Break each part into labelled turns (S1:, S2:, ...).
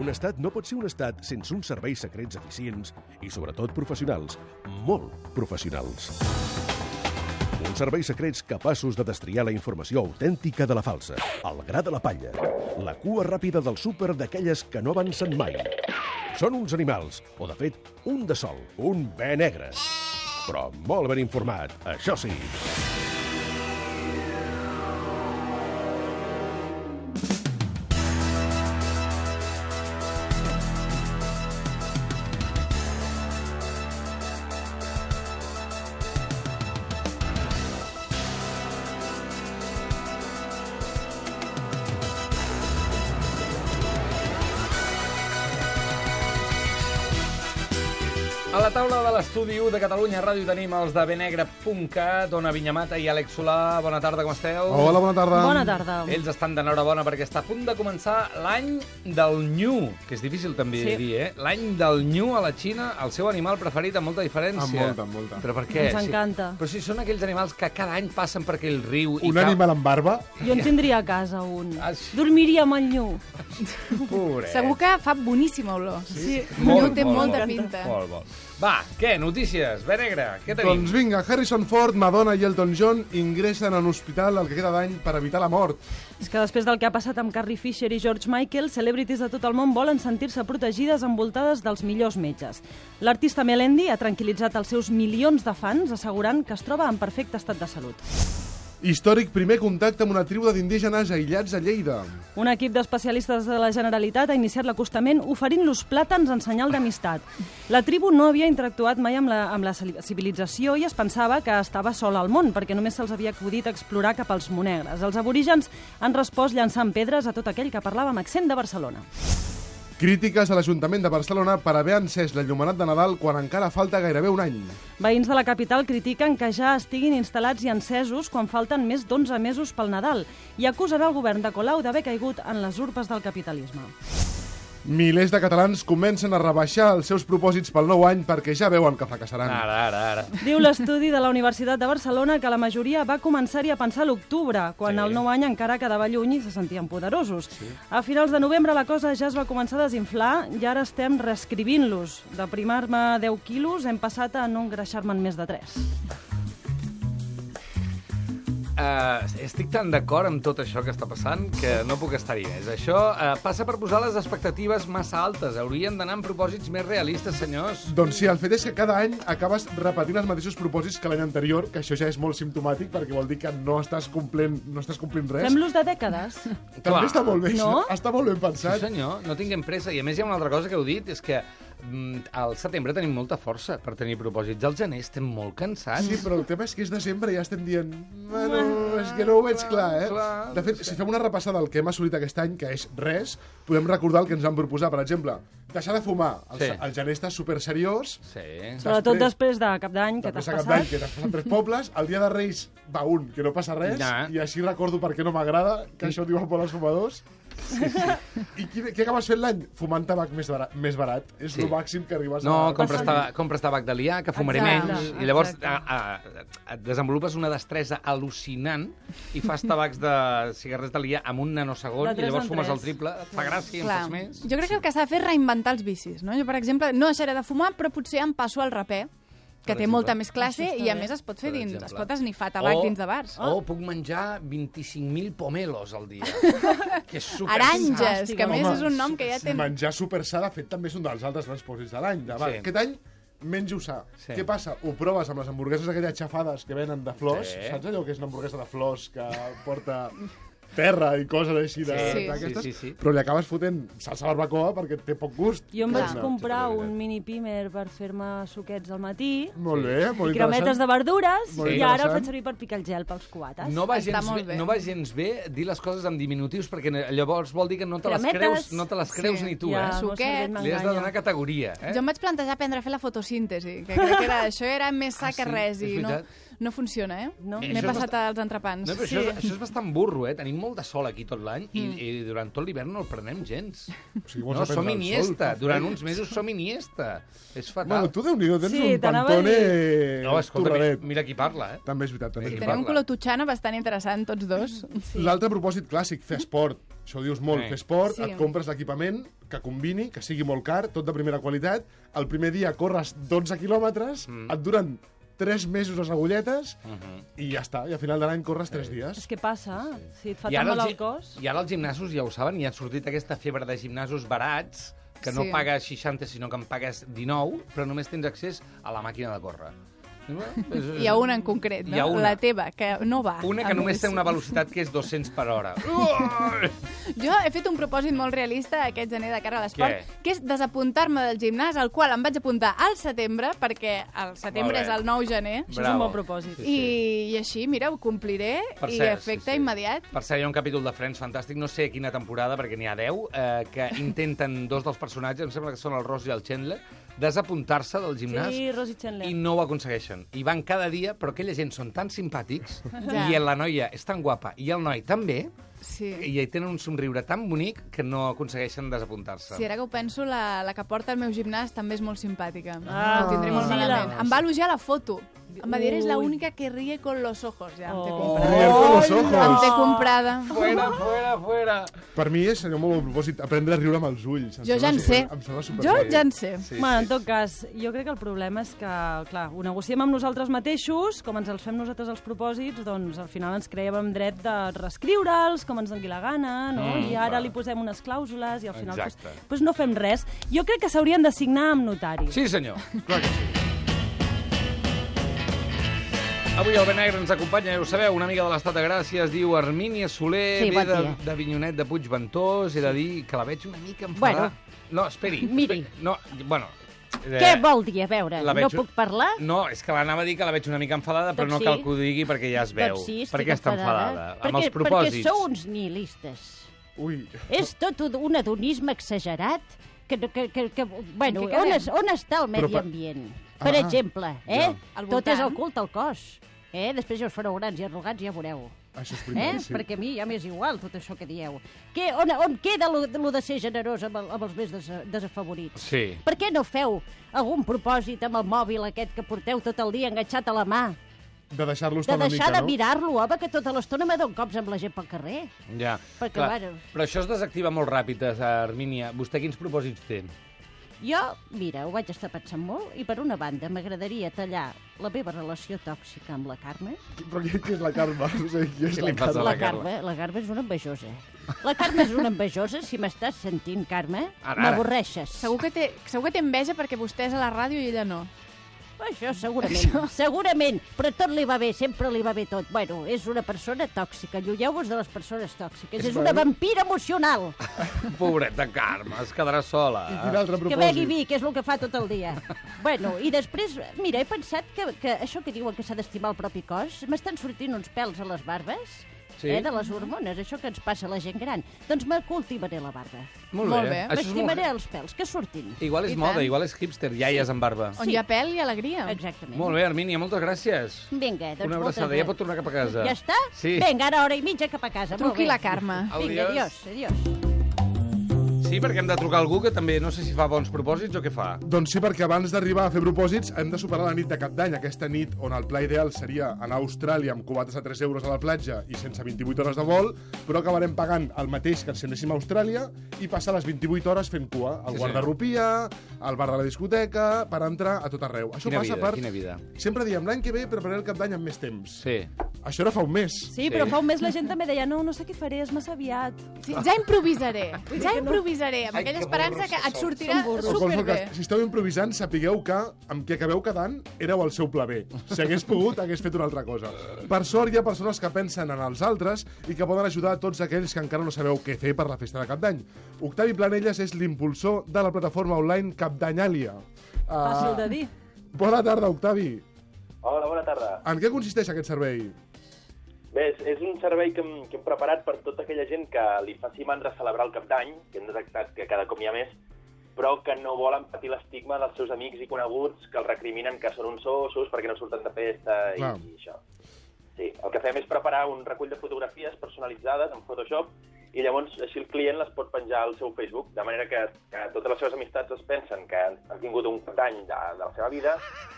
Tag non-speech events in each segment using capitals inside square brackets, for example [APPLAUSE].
S1: Un estat no pot ser un estat sense uns serveis secrets eficients i, sobretot, professionals, molt professionals. Uns serveis secrets capaços de destriar la informació autèntica de la falsa, el gra de la palla, la cua ràpida del súper d'aquelles que no avancen mai. Són uns animals, o de fet, un de sol, un bé negre. Però molt ben informat, això sí.
S2: A la taula de l'estudi 1 de Catalunya Ràdio tenim els de benegre.cat, Ona Vinyamata i Àlex Solà. Bona tarda, com esteu?
S3: Hola, bona tarda.
S4: Bona tarda.
S2: Ells estan d'enhorabona perquè està a punt de començar l'any del nyu, que és difícil també
S4: Sí.
S2: de dir, eh? L'any del nyu a la Xina, el seu animal preferit amb molta diferència.
S3: Amb Ah, molta, amb molta.
S2: Però per què?
S4: Ens encanta.
S2: Sí. Però si són aquells animals que cada any passen per aquell riu i
S3: Un
S2: ca-
S3: animal amb barba?
S4: Jo en tindria a casa un.
S2: Ah, sí.
S4: Dormiria amb el nyu.
S2: Pobret.
S5: Segur que fa boníssima olor.
S4: Sí.
S5: Molt, té molta pinta.
S2: Eh. Molt, molt. Va, què? Notícies. Benegre, què tenim?
S3: Doncs vinga, Harrison Ford, Madonna i Elton John ingressen a un hospital el que queda d'any per evitar la mort.
S4: És que després del que ha passat amb Carrie Fisher i George Michael, celebrities de tot el món volen sentir-se protegides envoltades dels millors metges. L'artista Melendi ha tranquil·litzat els seus milions de fans assegurant que es troba en perfecte estat de salut.
S3: Històric primer contacte amb una tribu d'indígenes aïllats a Lleida.
S4: Un equip d'especialistes de la Generalitat ha iniciat l'acostament oferint-los plàtans en senyal d'amistat. La tribu no havia interactuat mai amb la, amb la civil- civilització i es pensava que estava sola al món, perquè només se'ls havia acudit explorar cap als monegres. Els aborígens han respost llançant pedres a tot aquell que parlava amb accent de Barcelona.
S3: Crítiques a l'Ajuntament de Barcelona per haver encès l'enllumenat de Nadal quan encara falta gairebé un any.
S4: Veïns de la capital critiquen que ja estiguin instal·lats i encesos quan falten més d'11 mesos pel Nadal i acusen el govern de Colau d'haver caigut en les urpes del capitalisme.
S3: Milers de catalans comencen a rebaixar els seus propòsits pel nou any perquè ja veuen que fracassaran.
S2: Ara, ara, ara.
S4: Diu l'estudi de la Universitat de Barcelona que la majoria va començar-hi a pensar a l'octubre, quan
S2: Sí.
S4: sí. el nou any encara quedava lluny i se sentien poderosos. Sí. A finals de novembre la cosa ja es va començar a desinflar i ara estem reescrivint-los. De primar-me 10 quilos hem passat a no engreixar-me'n més de 3.
S2: Uh, estic tan d'acord amb tot això que està passant que no puc estar-hi més. Això uh, passa per posar les expectatives massa altes. Haurien d'anar amb propòsits més realistes, senyors.
S3: Doncs sí, el fet és que cada any acabes repetint els mateixos propòsits que l'any anterior, que això ja és molt simptomàtic perquè vol dir que no estàs complint, no estàs complint res.
S4: Fem-los de dècades.
S3: Doncs També
S2: Clar.
S3: està molt bé,
S4: No?
S3: això. està molt ben
S2: Sí,
S3: pensat.
S2: senyor, no tinguem pressa. I a més hi ha una altra cosa que heu dit, és que mm, al setembre tenim molta força per tenir propòsits. Al gener estem molt cansats.
S3: Sí, però el tema és que és desembre i ja estem dient... Bueno, és que no ho veig clar, eh?
S2: clar,
S3: De fet, si fem una repassada del que hem assolit aquest any, que és res, podem recordar el que ens van proposar. Per exemple, deixar de fumar. El,
S2: Sí.
S3: sí. el gener està super seriós.
S2: Sí.
S4: Sobretot després de cap d'any que
S3: Després de
S4: t'has
S3: cap d'any,
S4: passat.
S3: que t'has passat tres pobles, el dia de Reis va un, que no passa res,
S2: Ja.
S3: i així recordo per què no m'agrada, que això ho diuen molt els fumadors. Sí, sí. I qui, què acabes fent l'any? Fumant tabac més barat. Més barat. És
S2: Sí.
S3: sí. el màxim que arribes
S2: No,
S3: a...
S2: compres, taba compres tabac de liar, que fumaré
S5: Exacte,
S2: menys, i llavors a,
S4: exacte.
S2: a, a, desenvolupes una destresa al·lucinant i fas tabacs de cigarrets de liar amb un nanosegon
S4: De
S2: i
S4: tres
S2: llavors
S4: en
S2: fumes
S4: tres.
S2: el triple. Et fa gràcia i en
S5: Clar,
S2: fas més.
S5: jo crec que el que s'ha de fer és reinventar els vicis. No? Jo, per exemple, no deixaré de fumar, però potser em passo al rapé, que
S2: Per
S5: té
S2: exemple.
S5: molta més classe
S4: Això està
S5: i, a
S4: bé.
S5: més, es pot fer
S2: Per
S5: dins,
S2: exemple.
S5: es pot esnifar tabac dins de bars.
S2: O puc menjar 25.000 pomelos al
S5: [LAUGHS]
S2: dia. que és super...
S5: Aranges,
S4: fantàstic,
S5: que a més
S3: Home,
S5: és un nom que ja
S3: sí,
S5: té...
S3: Menjar supersà, de fet, també és un dels altres grans propòsits de l'any. De,
S2: Sí.
S3: sí. Aquest any, menjo sa.
S2: Sí.
S3: Sí. Què passa? Ho proves amb les hamburgueses aquelles xafades que venen de flors.
S2: Sí.
S3: Sí. Saps allò que és una hamburguesa de flors que porta terra i coses així de-
S5: Sí.
S3: d'aquestes?
S2: Sí, sí, sí.
S3: Però li acabes fotent salsa barbacoa perquè té poc gust.
S4: Jo em
S5: Clar.
S4: vaig
S3: No,
S4: comprar
S3: sí,
S4: un mini pimer per fer-me suquets al matí,
S3: Molt bé, molt
S4: i crometes de
S3: interessant.
S4: verdures,
S3: Molt
S4: i ara el
S3: interessant.
S4: faig servir per picar el gel pels cubates.
S2: No va,
S5: Està
S2: gens
S5: molt
S2: bé,
S5: bé.
S2: no va gens bé dir les coses amb diminutius, perquè ne- llavors vol dir que no te les
S4: Cremetes.
S2: creus, no te les creus
S5: Sí.
S2: ni tu, eh?
S4: ja, el meu cervell
S5: Suquets.
S2: Li has de
S4: m'enganya.
S2: donar categoria, eh?
S5: Jo em vaig plantejar aprendre a fer la fotosíntesi, que crec que era, això era més sa
S2: Ah, sí?
S5: que
S2: És
S5: res. I no,
S2: veritat.
S5: no funciona, eh?
S6: No.
S5: M'he
S2: Això és
S5: passat
S2: bastant-
S5: als entrepans.
S2: No, però això, és, això és bastant burro, eh? Tenim molt de sol aquí tot l'any i,
S6: Mm.
S2: i durant tot l'hivern no el prenem
S3: [LAUGHS]
S2: gens.
S3: O sigui, vols
S2: No,
S3: aprendre
S2: som
S3: el sol?
S2: Iniesta. Durant uns mesos som Iniesta. És fatal.
S3: Bueno, tu, eh, Déu-n'hi-do, tens
S6: Sí,
S3: un
S6: t'anava a
S3: pantone
S2: No, escolta, mira,
S3: torradet.
S2: mira qui parla, eh?
S3: També és veritat, també és
S2: Sí.
S3: veritat.
S5: Tenen un
S2: parla.
S5: color totxana bastant interessant, tots dos.
S3: L'altre propòsit clàssic, fer esport. Això ho dius molt,
S2: Sí.
S3: fer esport,
S5: Sí.
S3: et compres l'equipament, que combini, que sigui molt car, tot de primera qualitat, el primer dia corres 12 quilòmetres,
S2: Mm.
S3: et duren 3 mesos les agulletes,
S2: Mm-hmm.
S3: i ja està, i a final de l'any corres 3
S6: És
S3: dies.
S6: que passa, si et fa
S2: I
S6: tan
S2: ara
S6: mal
S2: els
S6: el
S2: gi-
S6: cos...
S2: I ara els gimnasos, ja ho saben, i han sortit aquesta febre de gimnasos barats, que no
S5: Sí.
S2: pagues 60, sinó que en pagues 19, però només tens accés a la màquina de córrer.
S5: Hi ha una en concret, no?
S2: Hi ha una.
S5: La teva, que no va.
S2: Una
S6: Ah,
S5: a
S2: que només
S5: més.
S2: té una velocitat que és 200 per
S6: [LAUGHS]
S2: hora. Uai!
S5: Jo he fet un propòsit molt realista aquest gener de cara a l'esport,
S2: Què?
S5: que és desapuntar-me del gimnàs, al qual em vaig apuntar al setembre, perquè el
S2: Molt
S5: setembre
S2: bé.
S5: és el 9 gener,
S6: Això és un bon propòsit.
S5: i, i així, mira, ho compliré,
S2: Per
S5: i
S2: cert,
S5: efecte
S2: sí, sí.
S5: immediat.
S2: Per cert, hi ha un capítol de Friends fantàstic, no sé quina temporada, perquè n'hi ha 10, eh,
S5: [LAUGHS]
S2: que intenten dos dels personatges, em sembla que són el Ross i el Chandler, desapuntar-se del gimnàs
S6: Sí, Rosie Chandler.
S2: i no ho aconsegueixen. I van cada dia, però aquella gent són tan simpàtics
S5: [LAUGHS] Ja.
S2: i la noia és tan guapa i el noi també,
S5: Sí.
S2: i hi tenen un somriure tan bonic que no aconsegueixen desapuntar-se.
S5: Si ara que ho penso, la, la que porta el meu gimnàs també és molt simpàtica.
S6: Ah,
S5: Ah, ho tindré molt
S6: vigila.
S5: malament. Em va elogiar la foto. Em va dir, eres la
S6: Ui.
S5: única que ríe con los ojos. Ja, em té
S6: Oh.
S5: comprada.
S3: Rier con los
S5: Em té
S3: ojos.
S5: comprada.
S2: Fuera, fuera, fuera!
S3: Per mi és seria un molt bon propòsit, aprendre a riure amb els ulls. Em
S5: Jo
S3: sembla
S5: ja en sé.
S3: super- Em sembla super...
S5: Jo ja en sé.
S2: Sí,
S6: Bueno, en
S2: sí.
S6: tot cas, jo crec que el problema és que, clar, ho negociem amb nosaltres mateixos, com ens els fem nosaltres els propòsits, doncs al final ens creiem amb dret de reescriure'ls, com ens doni la gana, no?
S2: Mm,
S6: Mm, I ara
S2: clar.
S6: li posem unes clàusules i al final pues,
S2: Exacte.
S6: pues no fem res. Jo crec que s'haurien de signar amb notari.
S2: Sí, senyor. Clar que sí. Avui el Benegre ens acompanya, ja ho sabeu, una amiga de l'Estat de Gràcia, es diu Armínia Soler,
S4: Sí,
S2: ve
S4: bon
S2: de,
S4: dia.
S2: de Vinyonet de Puigventós, he de dir que la veig una mica enfadada.
S4: Bueno.
S2: No, esperi.
S4: Miri.
S2: esperi. No, bueno... Eh,
S4: Què vol dir? A veure,
S2: la
S4: no
S2: veig-
S4: puc parlar?
S2: No, és que l'anava a dir que la veig una mica enfadada, però
S4: Doncs
S2: no cal
S4: sí.
S2: que ho digui perquè ja es veu.
S4: Doncs sí, estic
S2: perquè està enfadada. Amb
S4: Perquè,
S2: els propòsits.
S4: Perquè sou uns nihilistes.
S3: Ui,
S4: És tot un- un hedonisme exagerat que, no- que, que, que bueno,
S5: En què
S4: on,
S5: quedem?
S4: es, on està el medi
S3: Però per-
S4: ambient? Per
S3: Ah,
S4: exemple, eh?
S5: Al
S4: Tot és
S5: voltant.
S4: el culte al cos. Eh? Després ja us fareu grans i arrogants, ja ho veureu.
S3: això és primer,
S4: Eh?
S3: sí.
S4: Perquè a mi ja m'és igual tot això que dieu. Que, on, on queda lo, lo de ser generós amb, el, amb els més des, desafavorits?
S2: Sí.
S4: Per què no feu algun propòsit amb el mòbil aquest que porteu tot el dia enganxat a la mà?
S3: De deixar-lo estar
S4: De
S3: una
S4: deixar
S3: mica,
S4: de
S3: no?
S4: mirar-lo, home, que tota l'estona me dono cops amb la gent pel carrer.
S2: Ja.
S4: Perquè, bueno.
S2: Però això es desactiva molt ràpid, eh, Armínia. Vostè quins propòsits té?
S4: Jo, mira, ho vaig estar pensant molt i, per una banda, m'agradaria tallar la meva relació tòxica amb la Carme.
S3: Però qui, qui és la Carme? No sé qui és
S2: Què
S3: la
S2: li passa a
S3: Carme.
S2: la Carme?
S4: Carme, la Carme és una envejosa. La Carme és una envejosa. Si m'estàs sentint, Carme,
S2: Ara, ara.
S4: m'avorreixes.
S5: Segur que, té, segur que té enveja perquè vostè és a la ràdio i ella no.
S4: Això segurament, segurament, però tot li va bé, sempre li va bé tot. Bueno, és una persona tòxica, lluieu-vos de les persones tòxiques, és, una vampira emocional,
S2: [LAUGHS] Pobreta Carme, es quedarà sola.
S3: I quin altre
S4: que
S3: propòsit?
S4: begui vi, que és el que fa tot el dia. [LAUGHS] Bueno, i després, mira, he pensat que, que això que diuen que s'ha d'estimar el propi cos, m'estan sortint uns pèls a les barbes,
S2: Sí.
S4: eh, de les hormones, això que ens passa a la gent gran. Doncs me cultivaré la barba,
S2: Molt bé.
S5: Molt bé.
S2: Això és molt...
S4: m'estimaré els pèls, que surtin.
S2: Igual és
S5: I
S2: moda,
S5: tant.
S2: igual és hipster, iaies amb barba.
S5: On hi ha pèl i alegria.
S4: Exactament.
S2: Molt bé, Armínia, moltes gràcies.
S5: Mm,
S4: Vinga, doncs
S2: Una
S4: moltes
S2: abraçada, ja
S4: gràcies.
S2: pot tornar cap a casa.
S4: Ja està?
S2: Sí.
S4: Vinga, ara hora i mitja cap a casa. molt
S5: Truqui
S4: bé.
S5: la Carme.
S4: Vinga,
S2: Adiós.
S4: adiós, adiós.
S2: Sí, perquè hem de trucar a algú que també no sé si fa bons propòsits o què fa.
S3: Doncs sí, perquè abans d'arribar a fer propòsits hem de superar la nit de cap d'any, aquesta nit on el pla ideal seria anar a Austràlia amb cubates a 3 euros a la platja i sense 28 hores de vol, però acabarem pagant el mateix que si anéssim a Austràlia i passar les 28 hores fent
S2: Sí,
S3: cua al sí,
S2: senyor.
S3: guardarropia, al bar de la discoteca, per entrar a tot arreu. Això
S2: Quina
S3: passa
S2: vida,
S3: per...
S2: quina vida.
S3: Sempre diem, l'any que ve prepararé el cap d'any amb més temps.
S2: Sí.
S3: Això era fa un mes.
S6: Sí, però fa un mes la gent també deia no, no sé què faré, és massa aviat.
S5: Sí, ja improvisaré, ja improvisaré, amb aquella esperança que et sortirà
S3: Però, qualsevol
S5: superbé.
S3: cas, si esteu improvisant, sapigueu que amb qui acabeu quedant éreu el seu pla B. Si hagués pogut, hagués fet una altra cosa. Per sort, hi ha persones que pensen en els altres i que poden ajudar a tots aquells que encara no sabeu què fer per la festa de Cap d'Any. Octavi Planelles és l'impulsor de la plataforma online Capdanyalia. Uh,
S2: Ah.
S6: Fàcil de dir.
S3: Bona tarda, Octavi.
S7: Hola, bona tarda.
S3: En què consisteix aquest servei?
S7: Bé, és, és un servei que hem, que hem preparat per tota aquella gent que li faci mandra celebrar el cap d'any, que hem detectat que cada cop n'hi ha més, però que no volen patir l'estigma dels seus amics i coneguts que els recriminen que són uns sossos perquè no surten de festa i,
S3: Clar.
S7: i això. Sí, el que fem és preparar un recull de fotografies personalitzades en Photoshop i llavors així el client les pot penjar al seu Facebook, de manera que, que totes les seves amistats es pensen que han han tingut un cap d'any de, de la seva vida,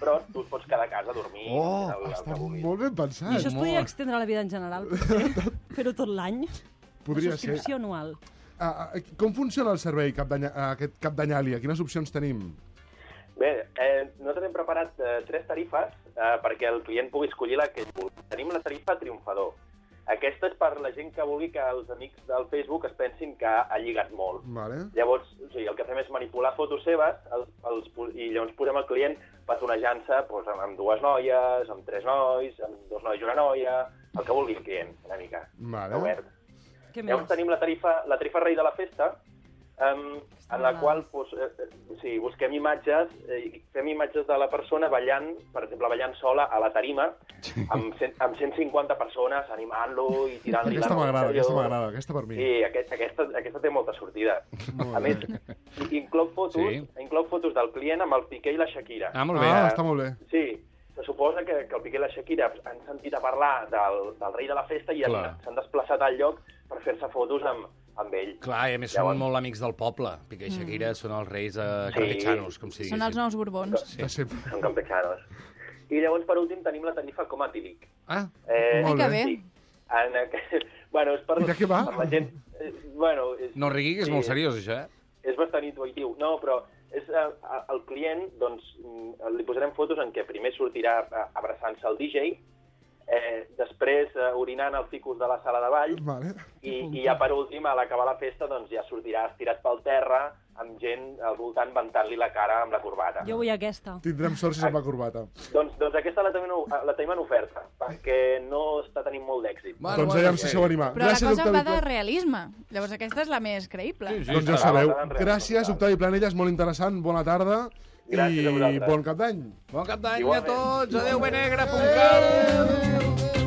S7: però tu et pots quedar a casa a dormir.
S3: Oh,
S7: fent el, el
S3: està
S7: que vulguis.
S3: molt ben
S2: Ah.
S4: I
S3: pensat.
S4: això es podria extendre a la vida en
S2: [LAUGHS]
S4: general, potser. Fer-ho tot l'any.
S3: Podria ser.
S4: Subscripció anual.
S3: Ah, ah, com funciona el servei cap d'any- ah, aquest cap d'anyalia? Quines opcions tenim?
S7: Bé, eh, nosaltres hem preparat eh, tres tarifes eh, perquè el client pugui escollir la que ell vulgui. Tenim la tarifa triomfador. Aquesta és per la gent que vulgui que els amics del Facebook es pensin que ha lligat molt.
S3: Vale.
S7: Llavors, o sigui, el que fem és manipular fotos seves els, els, pu- i llavors posem el client petonejant-se doncs, amb, amb dues noies, amb tres nois, amb dos nois i una noia, el que vulgui el client, una mica.
S3: Vale.
S7: Està obert.
S4: Què més?
S7: Llavors tenim la tarifa, la tarifa rei de la festa, um, en la qual pues, eh, eh, sí, busquem imatges, eh, i fem imatges de la persona ballant, per exemple, ballant sola a la tarima, amb, cent, amb 150 persones animant-lo i tirant-li
S3: Aquesta
S7: la
S3: m'agrada,
S7: roca.
S3: aquesta m'agrada, aquesta per mi.
S7: Sí, aquest, aquesta, aquesta té molta sortida.
S3: Molt
S7: a més, i- inclou fotos,
S2: Sí.
S7: sí. inclou fotos del client amb el Piqué i la Shakira.
S2: Ah, molt bé.
S3: Ah, està molt bé.
S7: Sí, se suposa que, que el Piqué i la Shakira han sentit a parlar del, del rei de la festa i han-
S2: Clar.
S7: s'han desplaçat al lloc per fer-se fotos amb, amb ell.
S2: Clar, i a més són molt amics del poble. Piqué i Shakira són els reis eh,
S7: Sí.
S2: carpetxanos, com si
S5: Mm. Són els
S2: diguéssim.
S5: nous borbons.
S3: Sí. De sempre.
S7: Són campechanos. I llavors, per últim, tenim la tarifa com a tílic.
S2: Ah,
S5: Ai,
S7: Eh,
S3: Molt
S5: que
S3: bé.
S5: bé.
S7: sí. En, aqu- [LAUGHS] bueno, és per,
S3: I de què va?
S7: per la gent... eh, Bueno, és,
S2: no rigui, que és
S7: sí,
S2: molt seriós, això, eh?
S7: És bastant intuïtiu. No, però és, eh, a- el client, doncs, mm, li posarem fotos en què primer sortirà eh, abraçant-se al DJ, eh, després eh, orinant al ficus de la sala de ball,
S3: Vale.
S7: I, i ja per últim, a l'acabar la festa, doncs ja sortirà estirat pel terra amb gent al voltant ventant-li la cara amb la corbata.
S4: Jo vull aquesta.
S3: Tindrem sort si se'n va corbata.
S5: Ah,
S7: Doncs, doncs aquesta la tenim, en- la tenim en oferta, perquè no està tenint molt d'èxit.
S2: Bueno,
S3: doncs
S2: bueno,
S3: aviam
S2: sí.
S3: si sou animar.
S5: Però la cosa va
S3: Octavi
S5: de
S3: Pla-
S5: realisme. Llavors aquesta és la més creïble.
S2: Sí, sí,
S3: Doncs ja ho
S2: està.
S3: sabeu.
S7: Està en
S3: Gràcies,
S7: realitat.
S3: Octavi Planella, és molt interessant. Bona tarda.
S7: Gràcies a
S3: I
S7: vosaltres.
S3: bon cap d'any.
S2: Bon cap d'any a
S7: Igualment.
S2: tots. Adéu, benegre.cat. Adéu.